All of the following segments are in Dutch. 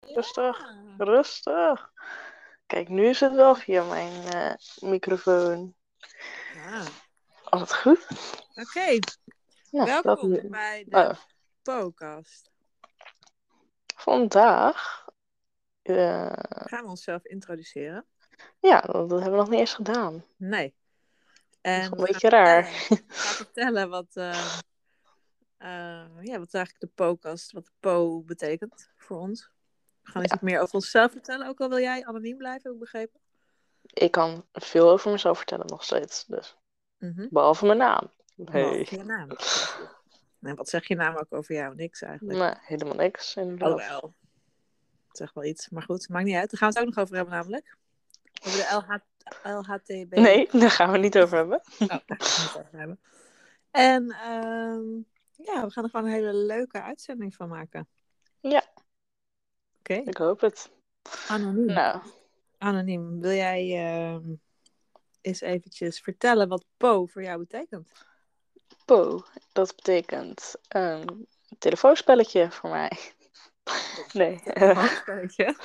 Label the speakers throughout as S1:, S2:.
S1: Rustig, rustig. Kijk, nu is het wel via mijn eh, microfoon.
S2: Ja,
S1: Als het goed.
S2: Ah, Oké,
S1: Nou, dat
S2: welkom
S1: nu.
S2: bij de
S1: Oh.
S2: podcast.
S1: Vandaag. eh,
S2: Gaan we onszelf introduceren?
S1: ja, dat, dat hebben we nog niet eens gedaan.
S2: Nee.
S1: Dat is wel
S2: En we
S1: een beetje
S2: gaan
S1: raar.
S2: vertellen- we gaan vertellen wat, eh, eh, ja, wat eigenlijk de podcast, wat de po betekent voor ons. We gaan iets meer over onszelf vertellen, ook al wil jij anoniem blijven, heb ik begrepen.
S1: Ik kan veel over mezelf vertellen nog steeds. Dus.
S2: Mhm.
S1: Behalve mijn naam. Nee.
S2: Behalve je naam. En wat zeg je naam ook over jou? Niks eigenlijk.
S1: Nee, helemaal niks. Inderdaad.
S2: Alhoewel. Het zegt Oh, wel iets. Maar goed, maakt niet uit. Daar gaan we het ook nog over hebben namelijk. Over de LH LHTB.
S1: Nee, daar gaan we het niet over hebben.
S2: Oh, daar gaan we het over hebben. En ehm, ja, we gaan er gewoon een hele leuke uitzending van maken.
S1: Ja.
S2: Oké,
S1: Ik hoop het.
S2: anoniem.
S1: Nou,
S2: Anoniem, wil jij ehm, eens eventjes vertellen wat Po voor jou betekent?
S1: Po, dat betekent een telefoonspelletje voor mij. Nee.
S2: Oh.
S1: eh,
S2: Handspelletje.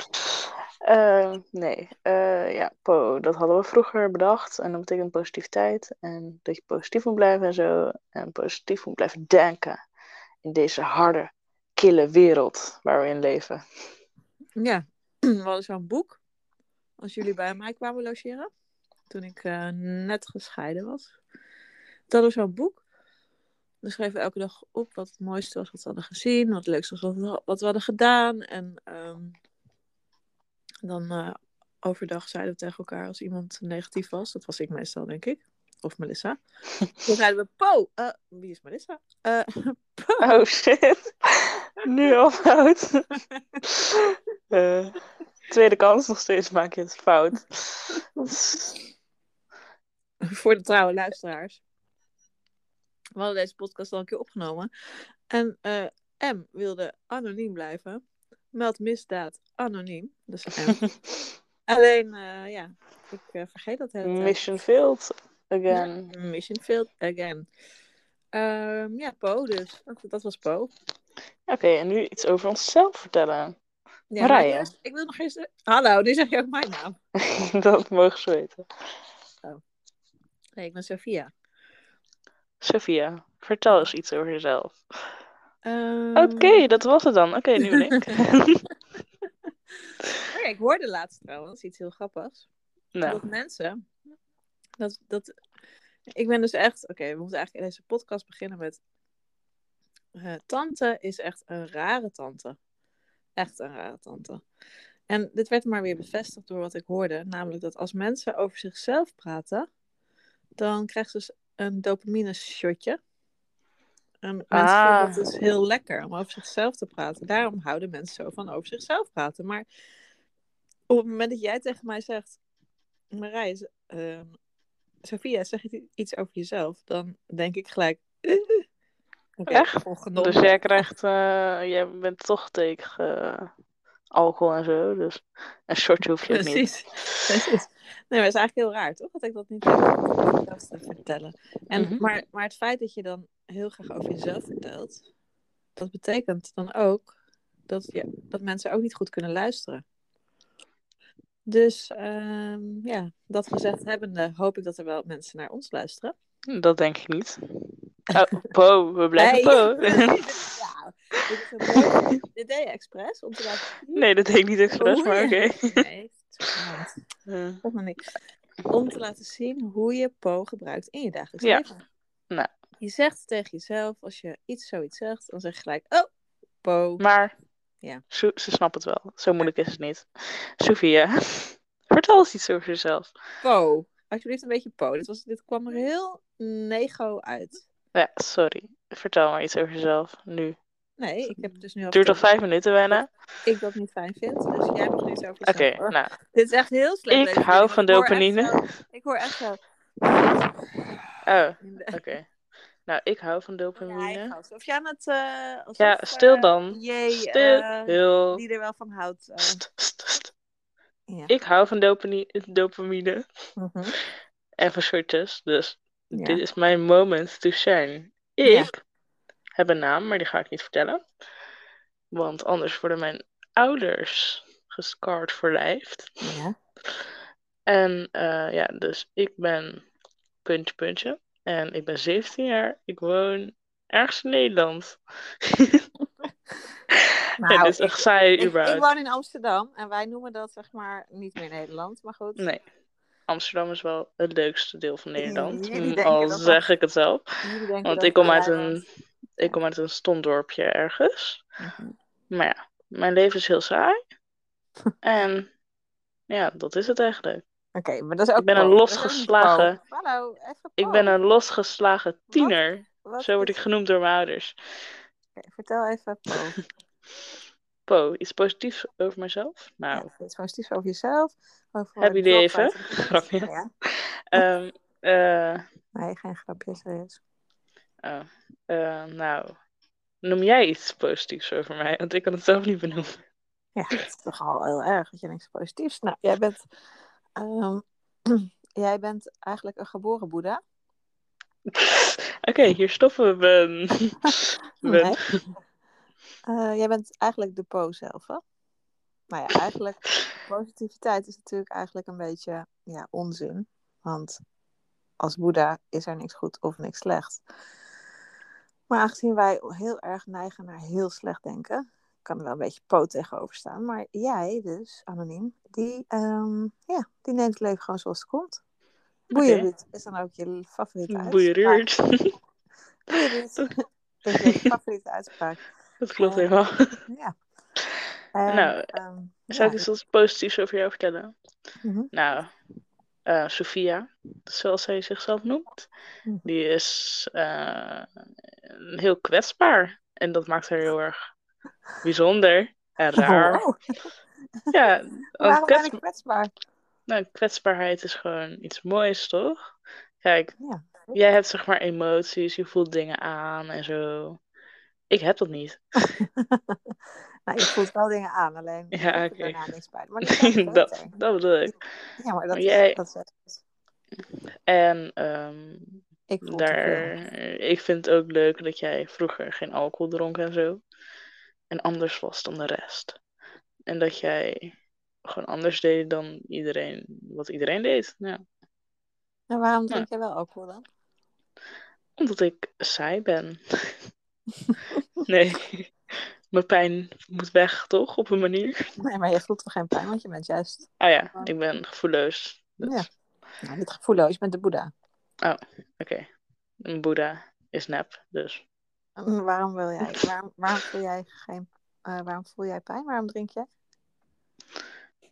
S1: eh, nee. eh, ja, Po, dat hadden we vroeger bedacht. En dat betekent positiviteit. En dat je positief moet blijven en zo. En positief moet blijven denken. In deze harde, kille wereld waar we in leven.
S2: Ja, we hadden zo'n boek. Als jullie bij mij kwamen logeren. Toen ik eh, net gescheiden was. Dat was zo'n boek. Dan schreven we elke dag op wat het mooiste was wat we hadden gezien. Wat het leukste was wat, wat we hadden gedaan. En ehm, dan eh, overdag zeiden we tegen elkaar als iemand negatief was. Dat was ik meestal, denk ik. Of Melissa. Dan zeiden we, Po, eh, wie is Melissa? Eh,
S1: Oh shit. Nu al fout. Eh, tweede kans nog steeds maak je het fout.
S2: voor de trouwe luisteraars. We hadden deze podcast al een keer opgenomen. En eh, M wilde anoniem blijven. Meld misdaad anoniem. Dus M. Alleen, eh, ja, ik eh, vergeet dat helemaal.
S1: Mission failed again.
S2: Mission failed again. Ehm, ja, Po dus. Dat, dat was Po.
S1: Oké, en nu iets over onszelf vertellen.
S2: Ja,
S1: Marije.
S2: maar eerst- Ik wil nog eens... Hallo, nu zeg je ook mijn naam.
S1: Dat mogen ze weten.
S2: Nee, ik ben Sophia.
S1: Sophia, vertel eens iets over jezelf.
S2: Ehm,
S1: Oké, dat was het dan. Oké, nu ben ik.
S2: oh ja, ik hoorde laatst trouwens iets heel grappigs.
S1: nou,
S2: Dat mensen. Dat, dat, ik ben dus echt. Oké, we moeten eigenlijk in deze podcast beginnen met. eh, tante is echt een rare tante. Echt een rare tante. En dit werd maar weer bevestigd door wat ik hoorde. Namelijk dat als mensen over zichzelf praten. dan krijgen ze dus een dopamine shotje. En mensen
S1: Ah.
S2: vinden het dus heel lekker om over zichzelf te praten. Daarom houden mensen zo van over zichzelf praten. Maar op het moment dat jij tegen mij zegt, Marij, z- ehm Sophia, zeg je iets over jezelf? Dan denk ik gelijk, eh, oké,
S1: Echt?
S2: volgende
S1: dus jij krijgt, eh, jij bent toch tegen eh, alcohol en zo, dus een shortje hoef je ook niet.
S2: Precies. Precies. Nee, maar het is eigenlijk heel raar, toch? Dat ik dat niet zelf te vertellen. En,
S1: Mhm.
S2: maar, maar het feit dat je dan heel graag over jezelf vertelt, dat betekent dan ook dat, je, dat mensen ook niet goed kunnen luisteren. Dus ehm, ja, dat gezegd hebbende, hoop ik dat er wel mensen naar ons luisteren.
S1: Dat denk ik niet. Oh, po, we blijven po.
S2: ja, dit is een beetje- dit deed je expres om te laten zien.
S1: Nee, dat deed ik niet expres,
S2: Hoe
S1: maar
S2: je-
S1: oké.
S2: Nee, het is gênant.
S1: Eh,
S2: Of nog niks. Om te laten zien hoe je Po gebruikt in je dagelijks
S1: Ja.
S2: leven.
S1: Nou.
S2: Je zegt tegen jezelf, als je iets zoiets zegt, dan zeg je gelijk, oh, Po.
S1: Maar
S2: Ja.
S1: ze, ze snapt het wel. Zo moeilijk is het niet. Sophia, vertel eens iets over jezelf.
S2: Po. Alsjeblieft een beetje Po. Dit, was, dit kwam er heel nego uit.
S1: Ja, sorry. Vertel maar iets over jezelf. Nu.
S2: Nee, ik heb het dus nu al
S1: Het duurt al
S2: verteld
S1: vijf minuten bijna.
S2: dat ik dat niet fijn vind. Dus jij mag nu iets over
S1: Oké,
S2: jezelf. hoor.
S1: nou.
S2: Dit is echt heel slecht.
S1: Ik
S2: deze
S1: hou
S2: video,
S1: van
S2: want ik hoor echt
S1: dopamine.
S2: zo- Ik hoor echt zo...
S1: Oh,
S2: in
S1: oké.
S2: de-
S1: Nou, ik hou van
S2: in de
S1: dopamine.
S2: heigas. Of jij met... eh alsof,
S1: Ja, stil
S2: eh,
S1: dan.
S2: Jee,
S1: Stil.
S2: eh,
S1: Heel.
S2: die er wel van houdt. eh,
S1: St, st, st.
S2: ja.
S1: Mhm. Ik hou van dopamine. dopamine. even shortjes. Dus
S2: Ja.
S1: dit is mijn moment to shine. Ik
S2: Ja.
S1: heb een naam, maar die ga ik niet vertellen. Want anders worden mijn ouders gescarred voor lijf.
S2: Ja.
S1: En eh, ja, dus ik ben puntje puntje. En ik ben 17 jaar. Ik woon ergens in Nederland. en dit is echt saai
S2: Nou, ik, ik
S1: überhaupt.
S2: woon in Amsterdam en wij noemen dat zeg maar niet meer Nederland, maar goed.
S1: Nee. Amsterdam is wel het leukste deel van Nederland. Hm,
S2: Jullie denken
S1: Al
S2: dat dat-
S1: zeg ik het zelf.
S2: Jullie denken
S1: Want
S2: dat
S1: ik kom,
S2: wij
S1: uit
S2: wel-
S1: een, ik kom uit een stomdorpje ergens.
S2: Mhm.
S1: Maar ja, mijn leven is heel saai. En ja, dat is het eigenlijk.
S2: Oké, maar dat is ook.
S1: Ik ben een
S2: pro. Dat is ook niet
S1: losgeslagen-
S2: pro. Hallo, even.
S1: Ik
S2: pro.
S1: ben een losgeslagen tiener.
S2: Wat
S1: Zo word
S2: is-
S1: ik genoemd door mijn ouders.
S2: Oké, vertel even. pro.
S1: Po, iets positiefs over mezelf?
S2: Ja,
S1: Nou,
S2: het is gewoon stief over jezelf. Over
S1: Hebben jullie
S2: het job,
S1: even?
S2: over het-
S1: Grapje.
S2: Ja.
S1: ehm eh,
S2: Nee, geen grapjes, serieus.
S1: oh, eh, nou, noem jij iets positiefs over mij? Want ik kan het zelf niet benoemen.
S2: Ja, dat is toch al heel erg dat je niks positiefs. Nou, jij bent, ehm, jij bent eigenlijk een geboren Boeddha.
S1: Oké, hier stoppen we. Ben. Ben.
S2: Nee. Oh, Eh, jij bent eigenlijk de Po zelf, hè? Nou ja, eigenlijk, positiviteit is natuurlijk eigenlijk een beetje ja, onzin. Want als Boeddha is er niks goed of niks slecht. Maar aangezien wij heel erg neigen naar heel slecht denken, kan er wel een beetje Po tegenover staan. Maar jij dus, anoniem, die, ehm, ja, die neemt het leven gewoon zoals het komt. Boeieruut is dan ook je favoriete uitspraak.
S1: Boeieruurt.
S2: Boeieruut is je favoriete uitspraak.
S1: Dat klopt
S2: Eh,
S1: helemaal.
S2: Ja. En,
S1: Nou,
S2: ehm,
S1: Zou
S2: ja,
S1: ik iets wat positiefs over jou vertellen?
S2: Mhm.
S1: Nou, eh Sophia, zoals zij zichzelf noemt,
S2: Mhm.
S1: die is eh, heel kwetsbaar. En dat maakt haar heel erg bijzonder en raar. Oh,
S2: Oh,
S1: Ja, want
S2: waarom ben
S1: kwets-
S2: ik kwetsbaar?
S1: nou, kwetsbaarheid is gewoon iets moois, toch? Kijk,
S2: Ja.
S1: jij hebt zeg maar emoties, je voelt dingen aan en zo. Ik heb dat niet.
S2: nou, je voelt wel dingen aan, alleen je
S1: Ja,
S2: doet er
S1: oké.
S2: daarna niks bij. Maar dat, is
S1: dat,
S2: beter.
S1: dat bedoel ik.
S2: ja, maar dat
S1: Maar jij-
S2: is, dat is-
S1: En ehm,
S2: ik voel te
S1: Daar, ik vind het ook leuk dat jij vroeger geen alcohol dronk en zo. En anders was dan de rest. En dat jij gewoon anders deed dan iedereen, wat iedereen deed. Ja.
S2: veel. En waarom drink jij wel alcohol dan?
S1: Omdat ik saai ben. nee, mijn pijn moet weg, toch? Op een manier.
S2: Nee, maar je voelt toch geen pijn, want je bent juist
S1: Ah ja, ik ben gevoelloos. Dus,
S2: Ja. nou, niet gevoelloos, je bent de boeddha.
S1: Oké, een boeddha is nep, dus.
S2: En Waarom wil jij, waarom, waarom voel jij geen, eh, waarom voel jij pijn? Waarom drink je?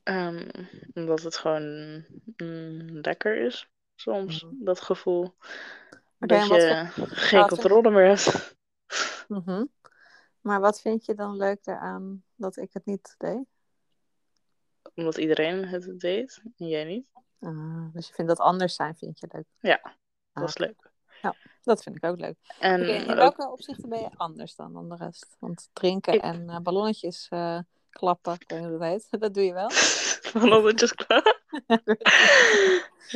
S1: Ehm, omdat het gewoon mm, lekker is, soms,
S2: Mhm.
S1: dat gevoel.
S2: Oké,
S1: dat
S2: en wat
S1: je geen
S2: wat voor-
S1: controle meer hebt.
S2: Mhm. Maar wat vind je dan leuk eraan dat ik het niet deed?
S1: Omdat iedereen het deed en jij niet.
S2: Ah, dus je vindt dat anders zijn, vind je leuk. Ah.
S1: Dat is leuk.
S2: Dat vind ik ook leuk.
S1: En eh,
S2: Oké, in
S1: ook-
S2: welke opzichten ben je anders dan, dan de rest? Want drinken
S1: Ik-
S2: en eh, ballonnetjes eh, klappen, ik weet niet hoe dat heet, dat doe je wel.
S1: van ondertjes klaar.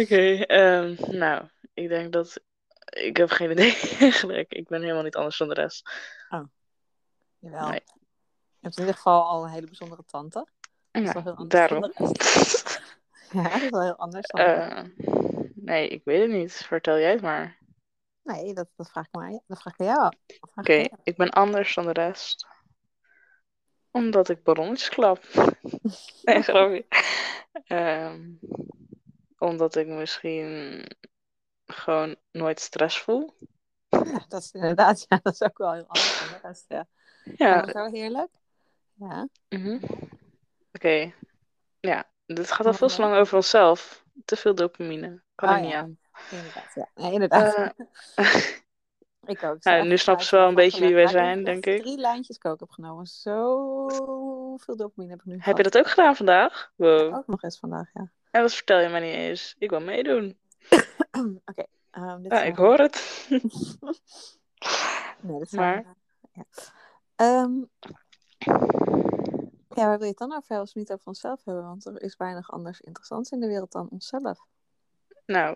S1: Oké, ehm, nou, ik denk dat. Ik heb geen idee eigenlijk. Ik ben helemaal niet anders dan de rest.
S2: Jawel.
S1: Nee.
S2: Je hebt in ieder geval al een hele bijzondere tante. Dat is wel heel anders
S1: Daarom.
S2: dan de rest. Ja, dat is wel heel anders dan de rest.
S1: Eh, nee, ik weet het niet. Vertel jij het maar.
S2: Nee, dat, dat vraag ik mij. Dat vraag ik aan jou. Dat vraag ik aan
S1: Oké,
S2: jou.
S1: ik ben anders dan de rest. Omdat ik ballonnetjes klap. Nee, grapje. Ehm, omdat ik misschien gewoon nooit stress voel.
S2: Ja, dat is inderdaad, ja, dat is ook wel heel anders dan de rest. Ja.
S1: Ja.
S2: Maar zo heerlijk. Ja.
S1: mhm. Oké. Ja, dit gaat al
S2: Ja,
S1: veel te
S2: maar-
S1: lang over onszelf. Te veel dopamine. Kan
S2: Ah,
S1: ik niet
S2: ja.
S1: aan.
S2: Inderdaad, ja. Nee, inderdaad.
S1: Eh,
S2: ik ook.
S1: nou, nu snappen ze wel een beetje wie wij
S2: Maar
S1: zijn,
S2: denk dat
S1: denk ik.
S2: Drie lijntjes kook heb genomen. Zoveel dopamine heb ik nu
S1: heb je dat ook gedaan vandaag? Wow.
S2: ook nog eens vandaag, ja.
S1: En dat vertel je mij niet eens. Ik wil meedoen.
S2: Oké. ehm, dit
S1: Ja,
S2: zijn-
S1: ik hoor het.
S2: Nee, dit
S1: Maar-
S2: zijn... Ja. Ehm, ja, waar wil je het dan over hebben als we het niet over onszelf hebben? Want er is weinig anders interessants in de wereld dan onszelf.
S1: nou,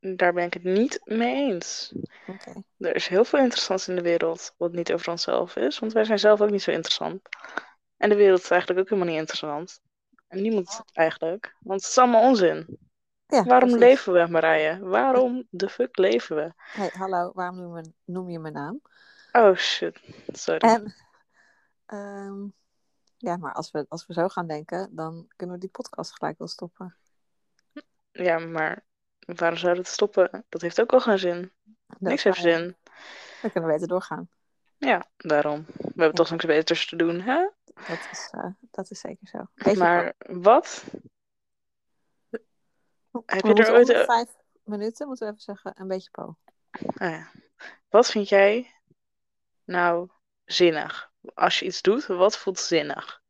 S1: daar ben ik het niet mee eens.
S2: Oké.
S1: Er is heel veel interessants in de wereld wat niet over onszelf is, want wij zijn zelf ook niet zo interessant. En de wereld is eigenlijk ook helemaal niet interessant. En niemand eigenlijk, want het is allemaal onzin.
S2: Ja,
S1: Waarom
S2: precies.
S1: leven we, Marije? Waarom de fuck leven we?
S2: Hey, hallo, waarom noem, je- noem je mijn naam?
S1: Oh shit, sorry.
S2: En, ehm, ja, maar als we, als we zo gaan denken, dan kunnen we die podcast gelijk wel stoppen.
S1: Ja, maar waarom zou dat stoppen? Dat heeft ook al geen zin.
S2: Dat
S1: Niks
S2: is
S1: heeft
S2: waar.
S1: zin.
S2: Dan kunnen we beter doorgaan.
S1: Ja, daarom. We hebben toch niks beters te doen, hè?
S2: Dat is, eh, dat is zeker zo. Weet je
S1: Maar wat?
S2: wat?
S1: heb
S2: we
S1: je er
S2: moeten
S1: ooit-
S2: om de vijf minuten, moeten we even zeggen, een beetje po.
S1: Ah ja. Wat vind jij nou zinnig? Als je iets doet, wat voelt zinnig?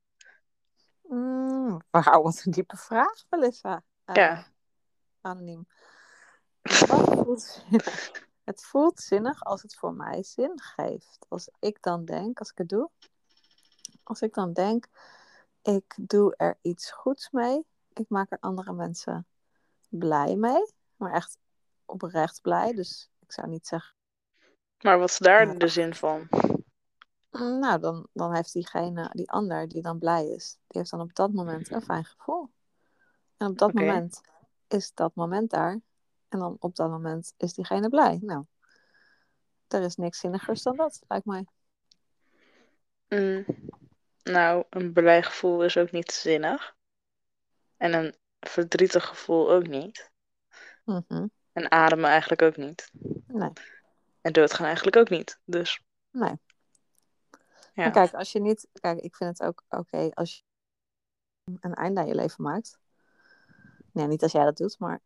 S2: Mm, wauw, wat een diepe vraag, Melissa. Eh,
S1: Ja.
S2: Anoniem. Wat voelt zinnig? Het voelt zinnig als het voor mij zin geeft. Als ik dan denk, als ik het doe. Als ik dan denk, ik doe er iets goeds mee. Ik maak er andere mensen blij mee. Maar echt oprecht blij. Dus ik zou niet zeggen,
S1: Maar wat is
S2: Ja.
S1: daar de zin van?
S2: "Mm, nou dan, dan heeft diegene, die ander die dan blij is, die heeft dan op dat moment een fijn gevoel. En op dat
S1: Oké.
S2: moment is dat moment daar. En dan op dat moment is diegene blij. Nou, er is niks zinnigers dan dat, lijkt mij.
S1: Mm. Nou, een blij gevoel is ook niet zinnig. En een verdrietig gevoel ook niet.
S2: Mhm.
S1: En ademen eigenlijk ook niet.
S2: Nee.
S1: En doodgaan eigenlijk ook niet. Dus
S2: Nee.
S1: ja.
S2: Maar kijk, als je niet. Kijk, ik vind het ook oké als je een einde aan je leven maakt. Nee, niet als jij dat doet, maar.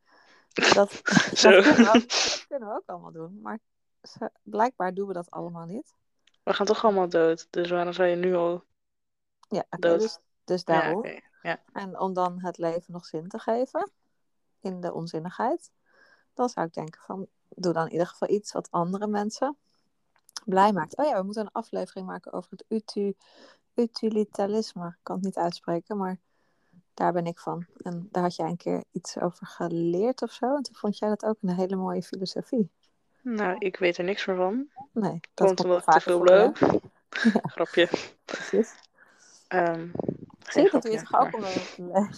S2: Dat,
S1: Zo.
S2: dat, kunnen, we ook, dat kunnen we ook allemaal doen. Maar ze- blijkbaar doen we dat allemaal niet.
S1: We gaan toch allemaal dood. Dus waarom zou je nu al...
S2: Ja, oké,
S1: Dat-
S2: dus, dus
S1: Ja,
S2: daarom.
S1: oké. Ja.
S2: En om dan het leven nog zin te geven. In de onzinnigheid. Dan zou ik denken van. Doe dan in ieder geval iets wat andere mensen blij maakt. Oh ja, we moeten een aflevering maken over het utu, utilitarisme. Ik kan het niet uitspreken, maar daar ben ik van. En daar had jij een keer iets over geleerd of zo. En toen vond jij dat ook een hele mooie filosofie.
S1: Nou, ik weet er niks meer van.
S2: Nee, dat
S1: Komt
S2: komt
S1: omdat ik
S2: vaker
S1: te veel
S2: voor, hè?
S1: loop. Grapje.
S2: Precies.
S1: Ehm
S2: Zie
S1: geen
S2: je, dat doe je
S1: grapje,
S2: toch ook
S1: maar-
S2: omdat het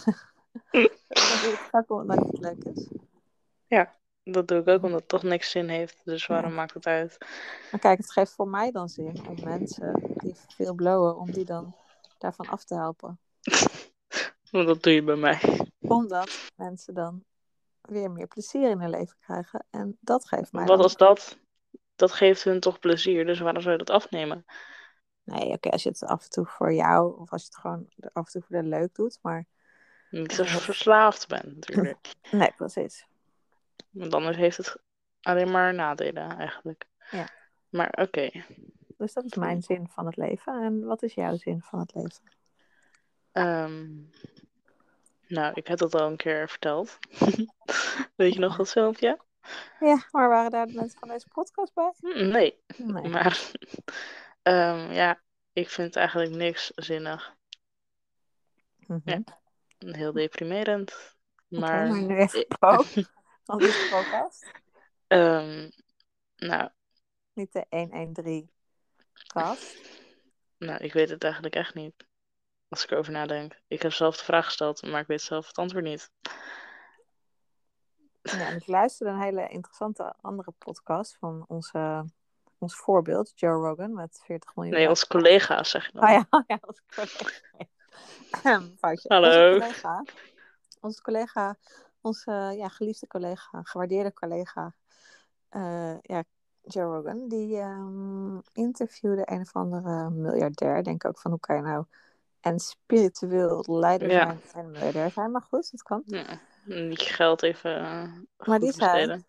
S2: leuk Dat doe je toch ook omdat het leuk is.
S1: Dat doe ik ook omdat het toch niks zin heeft. Dus waarom maakt het uit?
S2: Maar kijk, het geeft voor mij dan zin om mensen die veel blowen, om die dan daarvan af te helpen.
S1: Want dat doe je bij mij.
S2: Omdat mensen dan weer meer plezier in hun leven krijgen. En dat geeft mij
S1: Wat
S2: dan-
S1: als dat? Dat geeft hun toch plezier. Dus waarom zou je dat afnemen?
S2: Nee, oké, als je het af en toe voor jou, of als je het gewoon af en toe voor de leuk doet, maar...
S1: Niet als je verslaafd bent natuurlijk.
S2: Nee, precies.
S1: Want anders heeft het alleen maar nadelen eigenlijk.
S2: Ja.
S1: Maar oké.
S2: Dus dat is mijn zin van het leven. En wat is jouw zin van het leven?
S1: Ehm, nou, ik heb dat al een keer verteld. Weet je nog dat filmpje?
S2: Ja, maar waren daar de mensen van deze podcast bij?
S1: Hm, Nee.
S2: Nee.
S1: Maar ehm, ja, ik vind eigenlijk niks zinnig.
S2: Mhm.
S1: Ja, Heel deprimerend.
S2: Oké,
S1: Maar,
S2: maar nu even po. Want dit is de podcast.
S1: ehm, nou,
S2: Niet de 113 kast.
S1: nou, ik weet het eigenlijk echt niet. Als ik erover nadenk. Ik heb zelf de vraag gesteld, maar ik weet zelf het antwoord niet.
S2: Ja, Nou, en ik luisterde een hele interessante andere podcast van onze, ons voorbeeld, Joe Rogan, met 40 miljoen.
S1: Nee, onze collega's zeg ik dan.
S2: Oh ja, oh ja onze collega. Ehm, Foutje.
S1: Hallo.
S2: Onze collega, onze, collega, onze ja, geliefde collega, gewaardeerde collega, eh, ja, Joe Rogan, die ehm, interviewde een of andere miljardair. Denk ook van hoe kan je nou en spiritueel leider
S1: Ja.
S2: zijn en miljardair zijn. Maar goed, dat kan.
S1: Ja, niet je geld even eh,
S2: Maar
S1: goed
S2: die zei-
S1: besteden.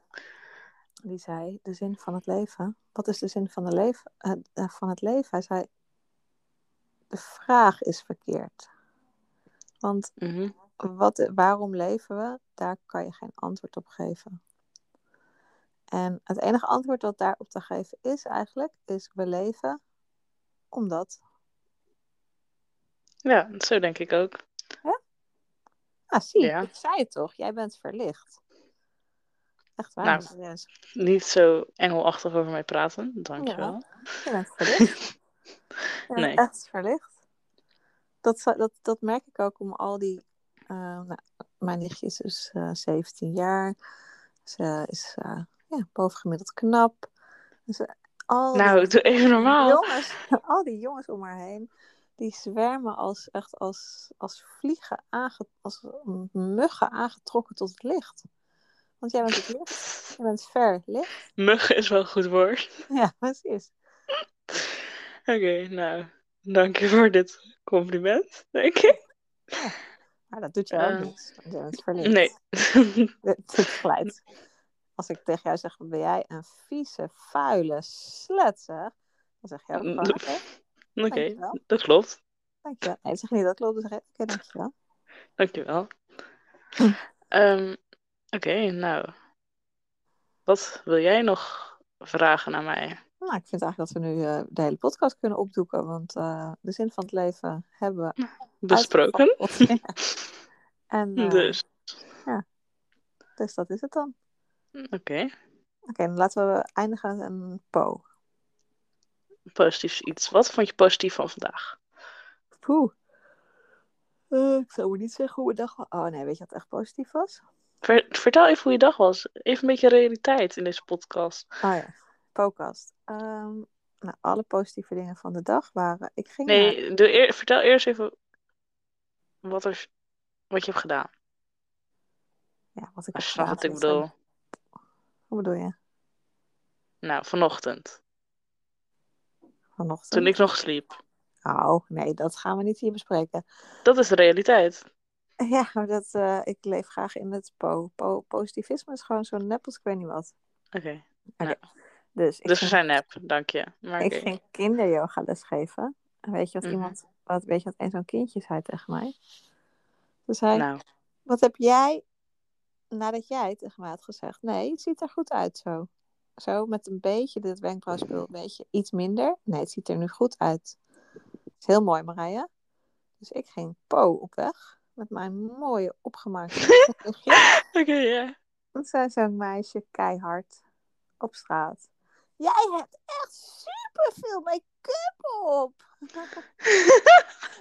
S2: Die zei, de zin van het leven. Wat is de zin van, de leven, eh, eh, van het leven? Hij zei, de vraag is verkeerd. Want
S1: Mhm.
S2: wat, waarom leven we? Daar kan je geen antwoord op geven. En het enige antwoord dat daarop te geven is eigenlijk, is we leven omdat.
S1: Ja, zo denk ik ook.
S2: Ah, zie,
S1: Ja.
S2: ik zei het toch, jij bent verlicht. Echt waar.
S1: Nou.
S2: serieus.
S1: Niet zo engelachtig over mij praten, dankjewel.
S2: Je bent verlicht. Je bent
S1: Nee.
S2: echt verlicht. Dat, zou- dat, dat merk ik ook om al die... eh, nou, mijn nichtje is dus eh, 17 jaar. Ze is eh, ja, bovengemiddeld knap. Ze, al die-
S1: Nou, doe even normaal.
S2: jongens, al die jongens om haar heen, die zwermen als, echt als, als vliegen, aange, als muggen aangetrokken tot het licht. Want jij bent het licht, je bent ver licht.
S1: Muggen is wel een goed woord.
S2: Ja, precies.
S1: Oké, nou, dank je voor dit compliment, denk ik.
S2: Maar dat doet je ook
S1: Eh,
S2: niks, want jij bent verlicht.
S1: Nee.
S2: Dit dit glijdt. Als ik tegen jou zeg, ben jij een vieze, vuile slet, zeg. Dan zeg je ook gewoon, oké,
S1: Oké,
S2: dankjewel.
S1: dat klopt.
S2: dankjewel. Nee, zeg je niet, dat klopt. Dan zeg je, oké, dankjewel.
S1: Dankjewel.
S2: Hm.
S1: Ehm, Oké, nou. Wat wil jij nog vragen aan mij?
S2: Nou, ik vind eigenlijk dat we nu eh, de hele podcast kunnen opdoeken, want eh, de zin van het leven hebben we
S1: Besproken?
S2: uitgevonden. Ja. en, eh, dus.
S1: Dus,
S2: dat is het dan.
S1: oké.
S2: Oké, dan laten we eindigen met een po.
S1: Positiefs iets. Wat vond je positief van vandaag?
S2: Poeh. Eh, ik zou me niet zeggen hoe mijn dag was. Oh nee, weet je wat echt positief was?
S1: Ver- vertel even hoe je dag was. Even een beetje realiteit in deze podcast.
S2: Oh ja, podcast. Ehm, nou, alle positieve dingen van de dag waren... Ik ging naar-
S1: Nee, doe eer- vertel eerst even wat, er, wat je hebt gedaan.
S2: Ja, wat ik
S1: Als je
S2: heb
S1: snapt
S2: gedaan,
S1: wat ik
S2: dat zijn-
S1: bedoel.
S2: Hoe bedoel je?
S1: Nou, vanochtend.
S2: Vanochtend?
S1: Toen ik nog sliep.
S2: Oh, nee, dat gaan we niet hier bespreken.
S1: Dat is de realiteit.
S2: Ja, maar dat, eh, ik leef graag in het po. po positivisme is gewoon zo'n nep als ik weet niet wat.
S1: Oké.
S2: Dus ik,
S1: Dus we
S2: ging,
S1: zijn nep, dank je. Maar
S2: ik
S1: oké.
S2: ging kinderyoga lesgeven. En weet je wat
S1: Mhm.
S2: iemand, wat, weet je wat een zo'n kindje zei tegen mij? Ze zei,
S1: Nou,
S2: wat heb jij, nadat jij tegen mij had gezegd, nee, het ziet er goed uit zo. Zo, met een beetje dit wenkbrauwspul, een beetje iets minder. Nee, het ziet er nu goed uit. Het is heel mooi, Marije. Dus ik ging po op weg. Met mijn mooie opgemaakte gezichtje.
S1: oké, ja.
S2: Toen zei zo'n meisje keihard op straat. Jij hebt echt superveel make-up op.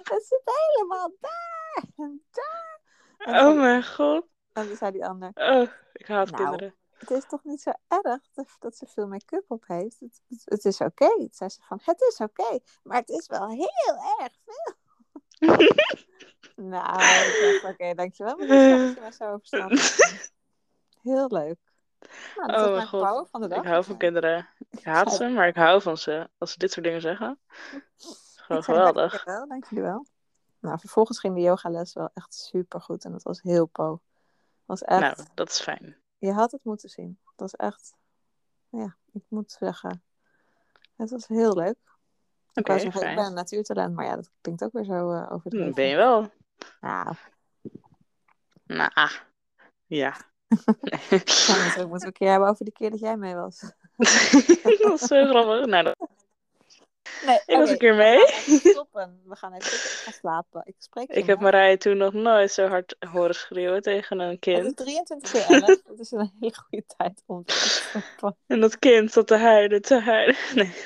S2: Het zit helemaal daar en daar. En toen,
S1: Oh mijn god.
S2: en toen zei die ander.
S1: Oh, ik haat
S2: Nou.
S1: kinderen.
S2: Het is toch niet zo erg dat, dat ze veel make-up op heeft. Het, het, het is oké. Toen zei ze van, het is oké. maar het is wel heel erg veel. nou, ik dacht, oké, dankjewel. Maar dat is maar zo verstandig. Heel leuk. Nou, dat
S1: Oh
S2: is
S1: mijn
S2: mijn
S1: god.
S2: vrouw van de dag.
S1: Ik hou van kinderen. Ik haat ze, maar ik hou van ze. Als ze dit soort dingen zeggen. Gewoon
S2: Ik zei,
S1: geweldig.
S2: Dankjewel, dank jullie wel. Nou, vervolgens ging de yogales wel echt super goed en dat was heel po. Was echt,
S1: Nou, dat is fijn.
S2: je had het moeten zien. Het was echt, ja, ik moet zeggen, het was heel leuk. Ik
S1: Oké,
S2: wou zeggen, ik
S1: fijn.
S2: ben een natuurtalent, maar ja, dat klinkt ook weer zo eh over de
S1: Hm, Ben je wel?
S2: Nou,
S1: Nou, ah. ja.
S2: dan moeten we- moeten we een keer hebben over die keer dat jij mee was.
S1: dat is zo grappig. Nou, dat-
S2: Nee,
S1: ik was een keer mee.
S2: stoppen. We gaan even zitten. Ik ga slapen. Ik spreek je
S1: Ik heb
S2: morgen.
S1: Marije toen nog nooit zo hard horen schreeuwen tegen een
S2: Het is
S1: kind.
S2: 23 uur 11. Dat is een hele goede tijd om te stoppen.
S1: En dat kind zat te huilen, te huilen. Nee.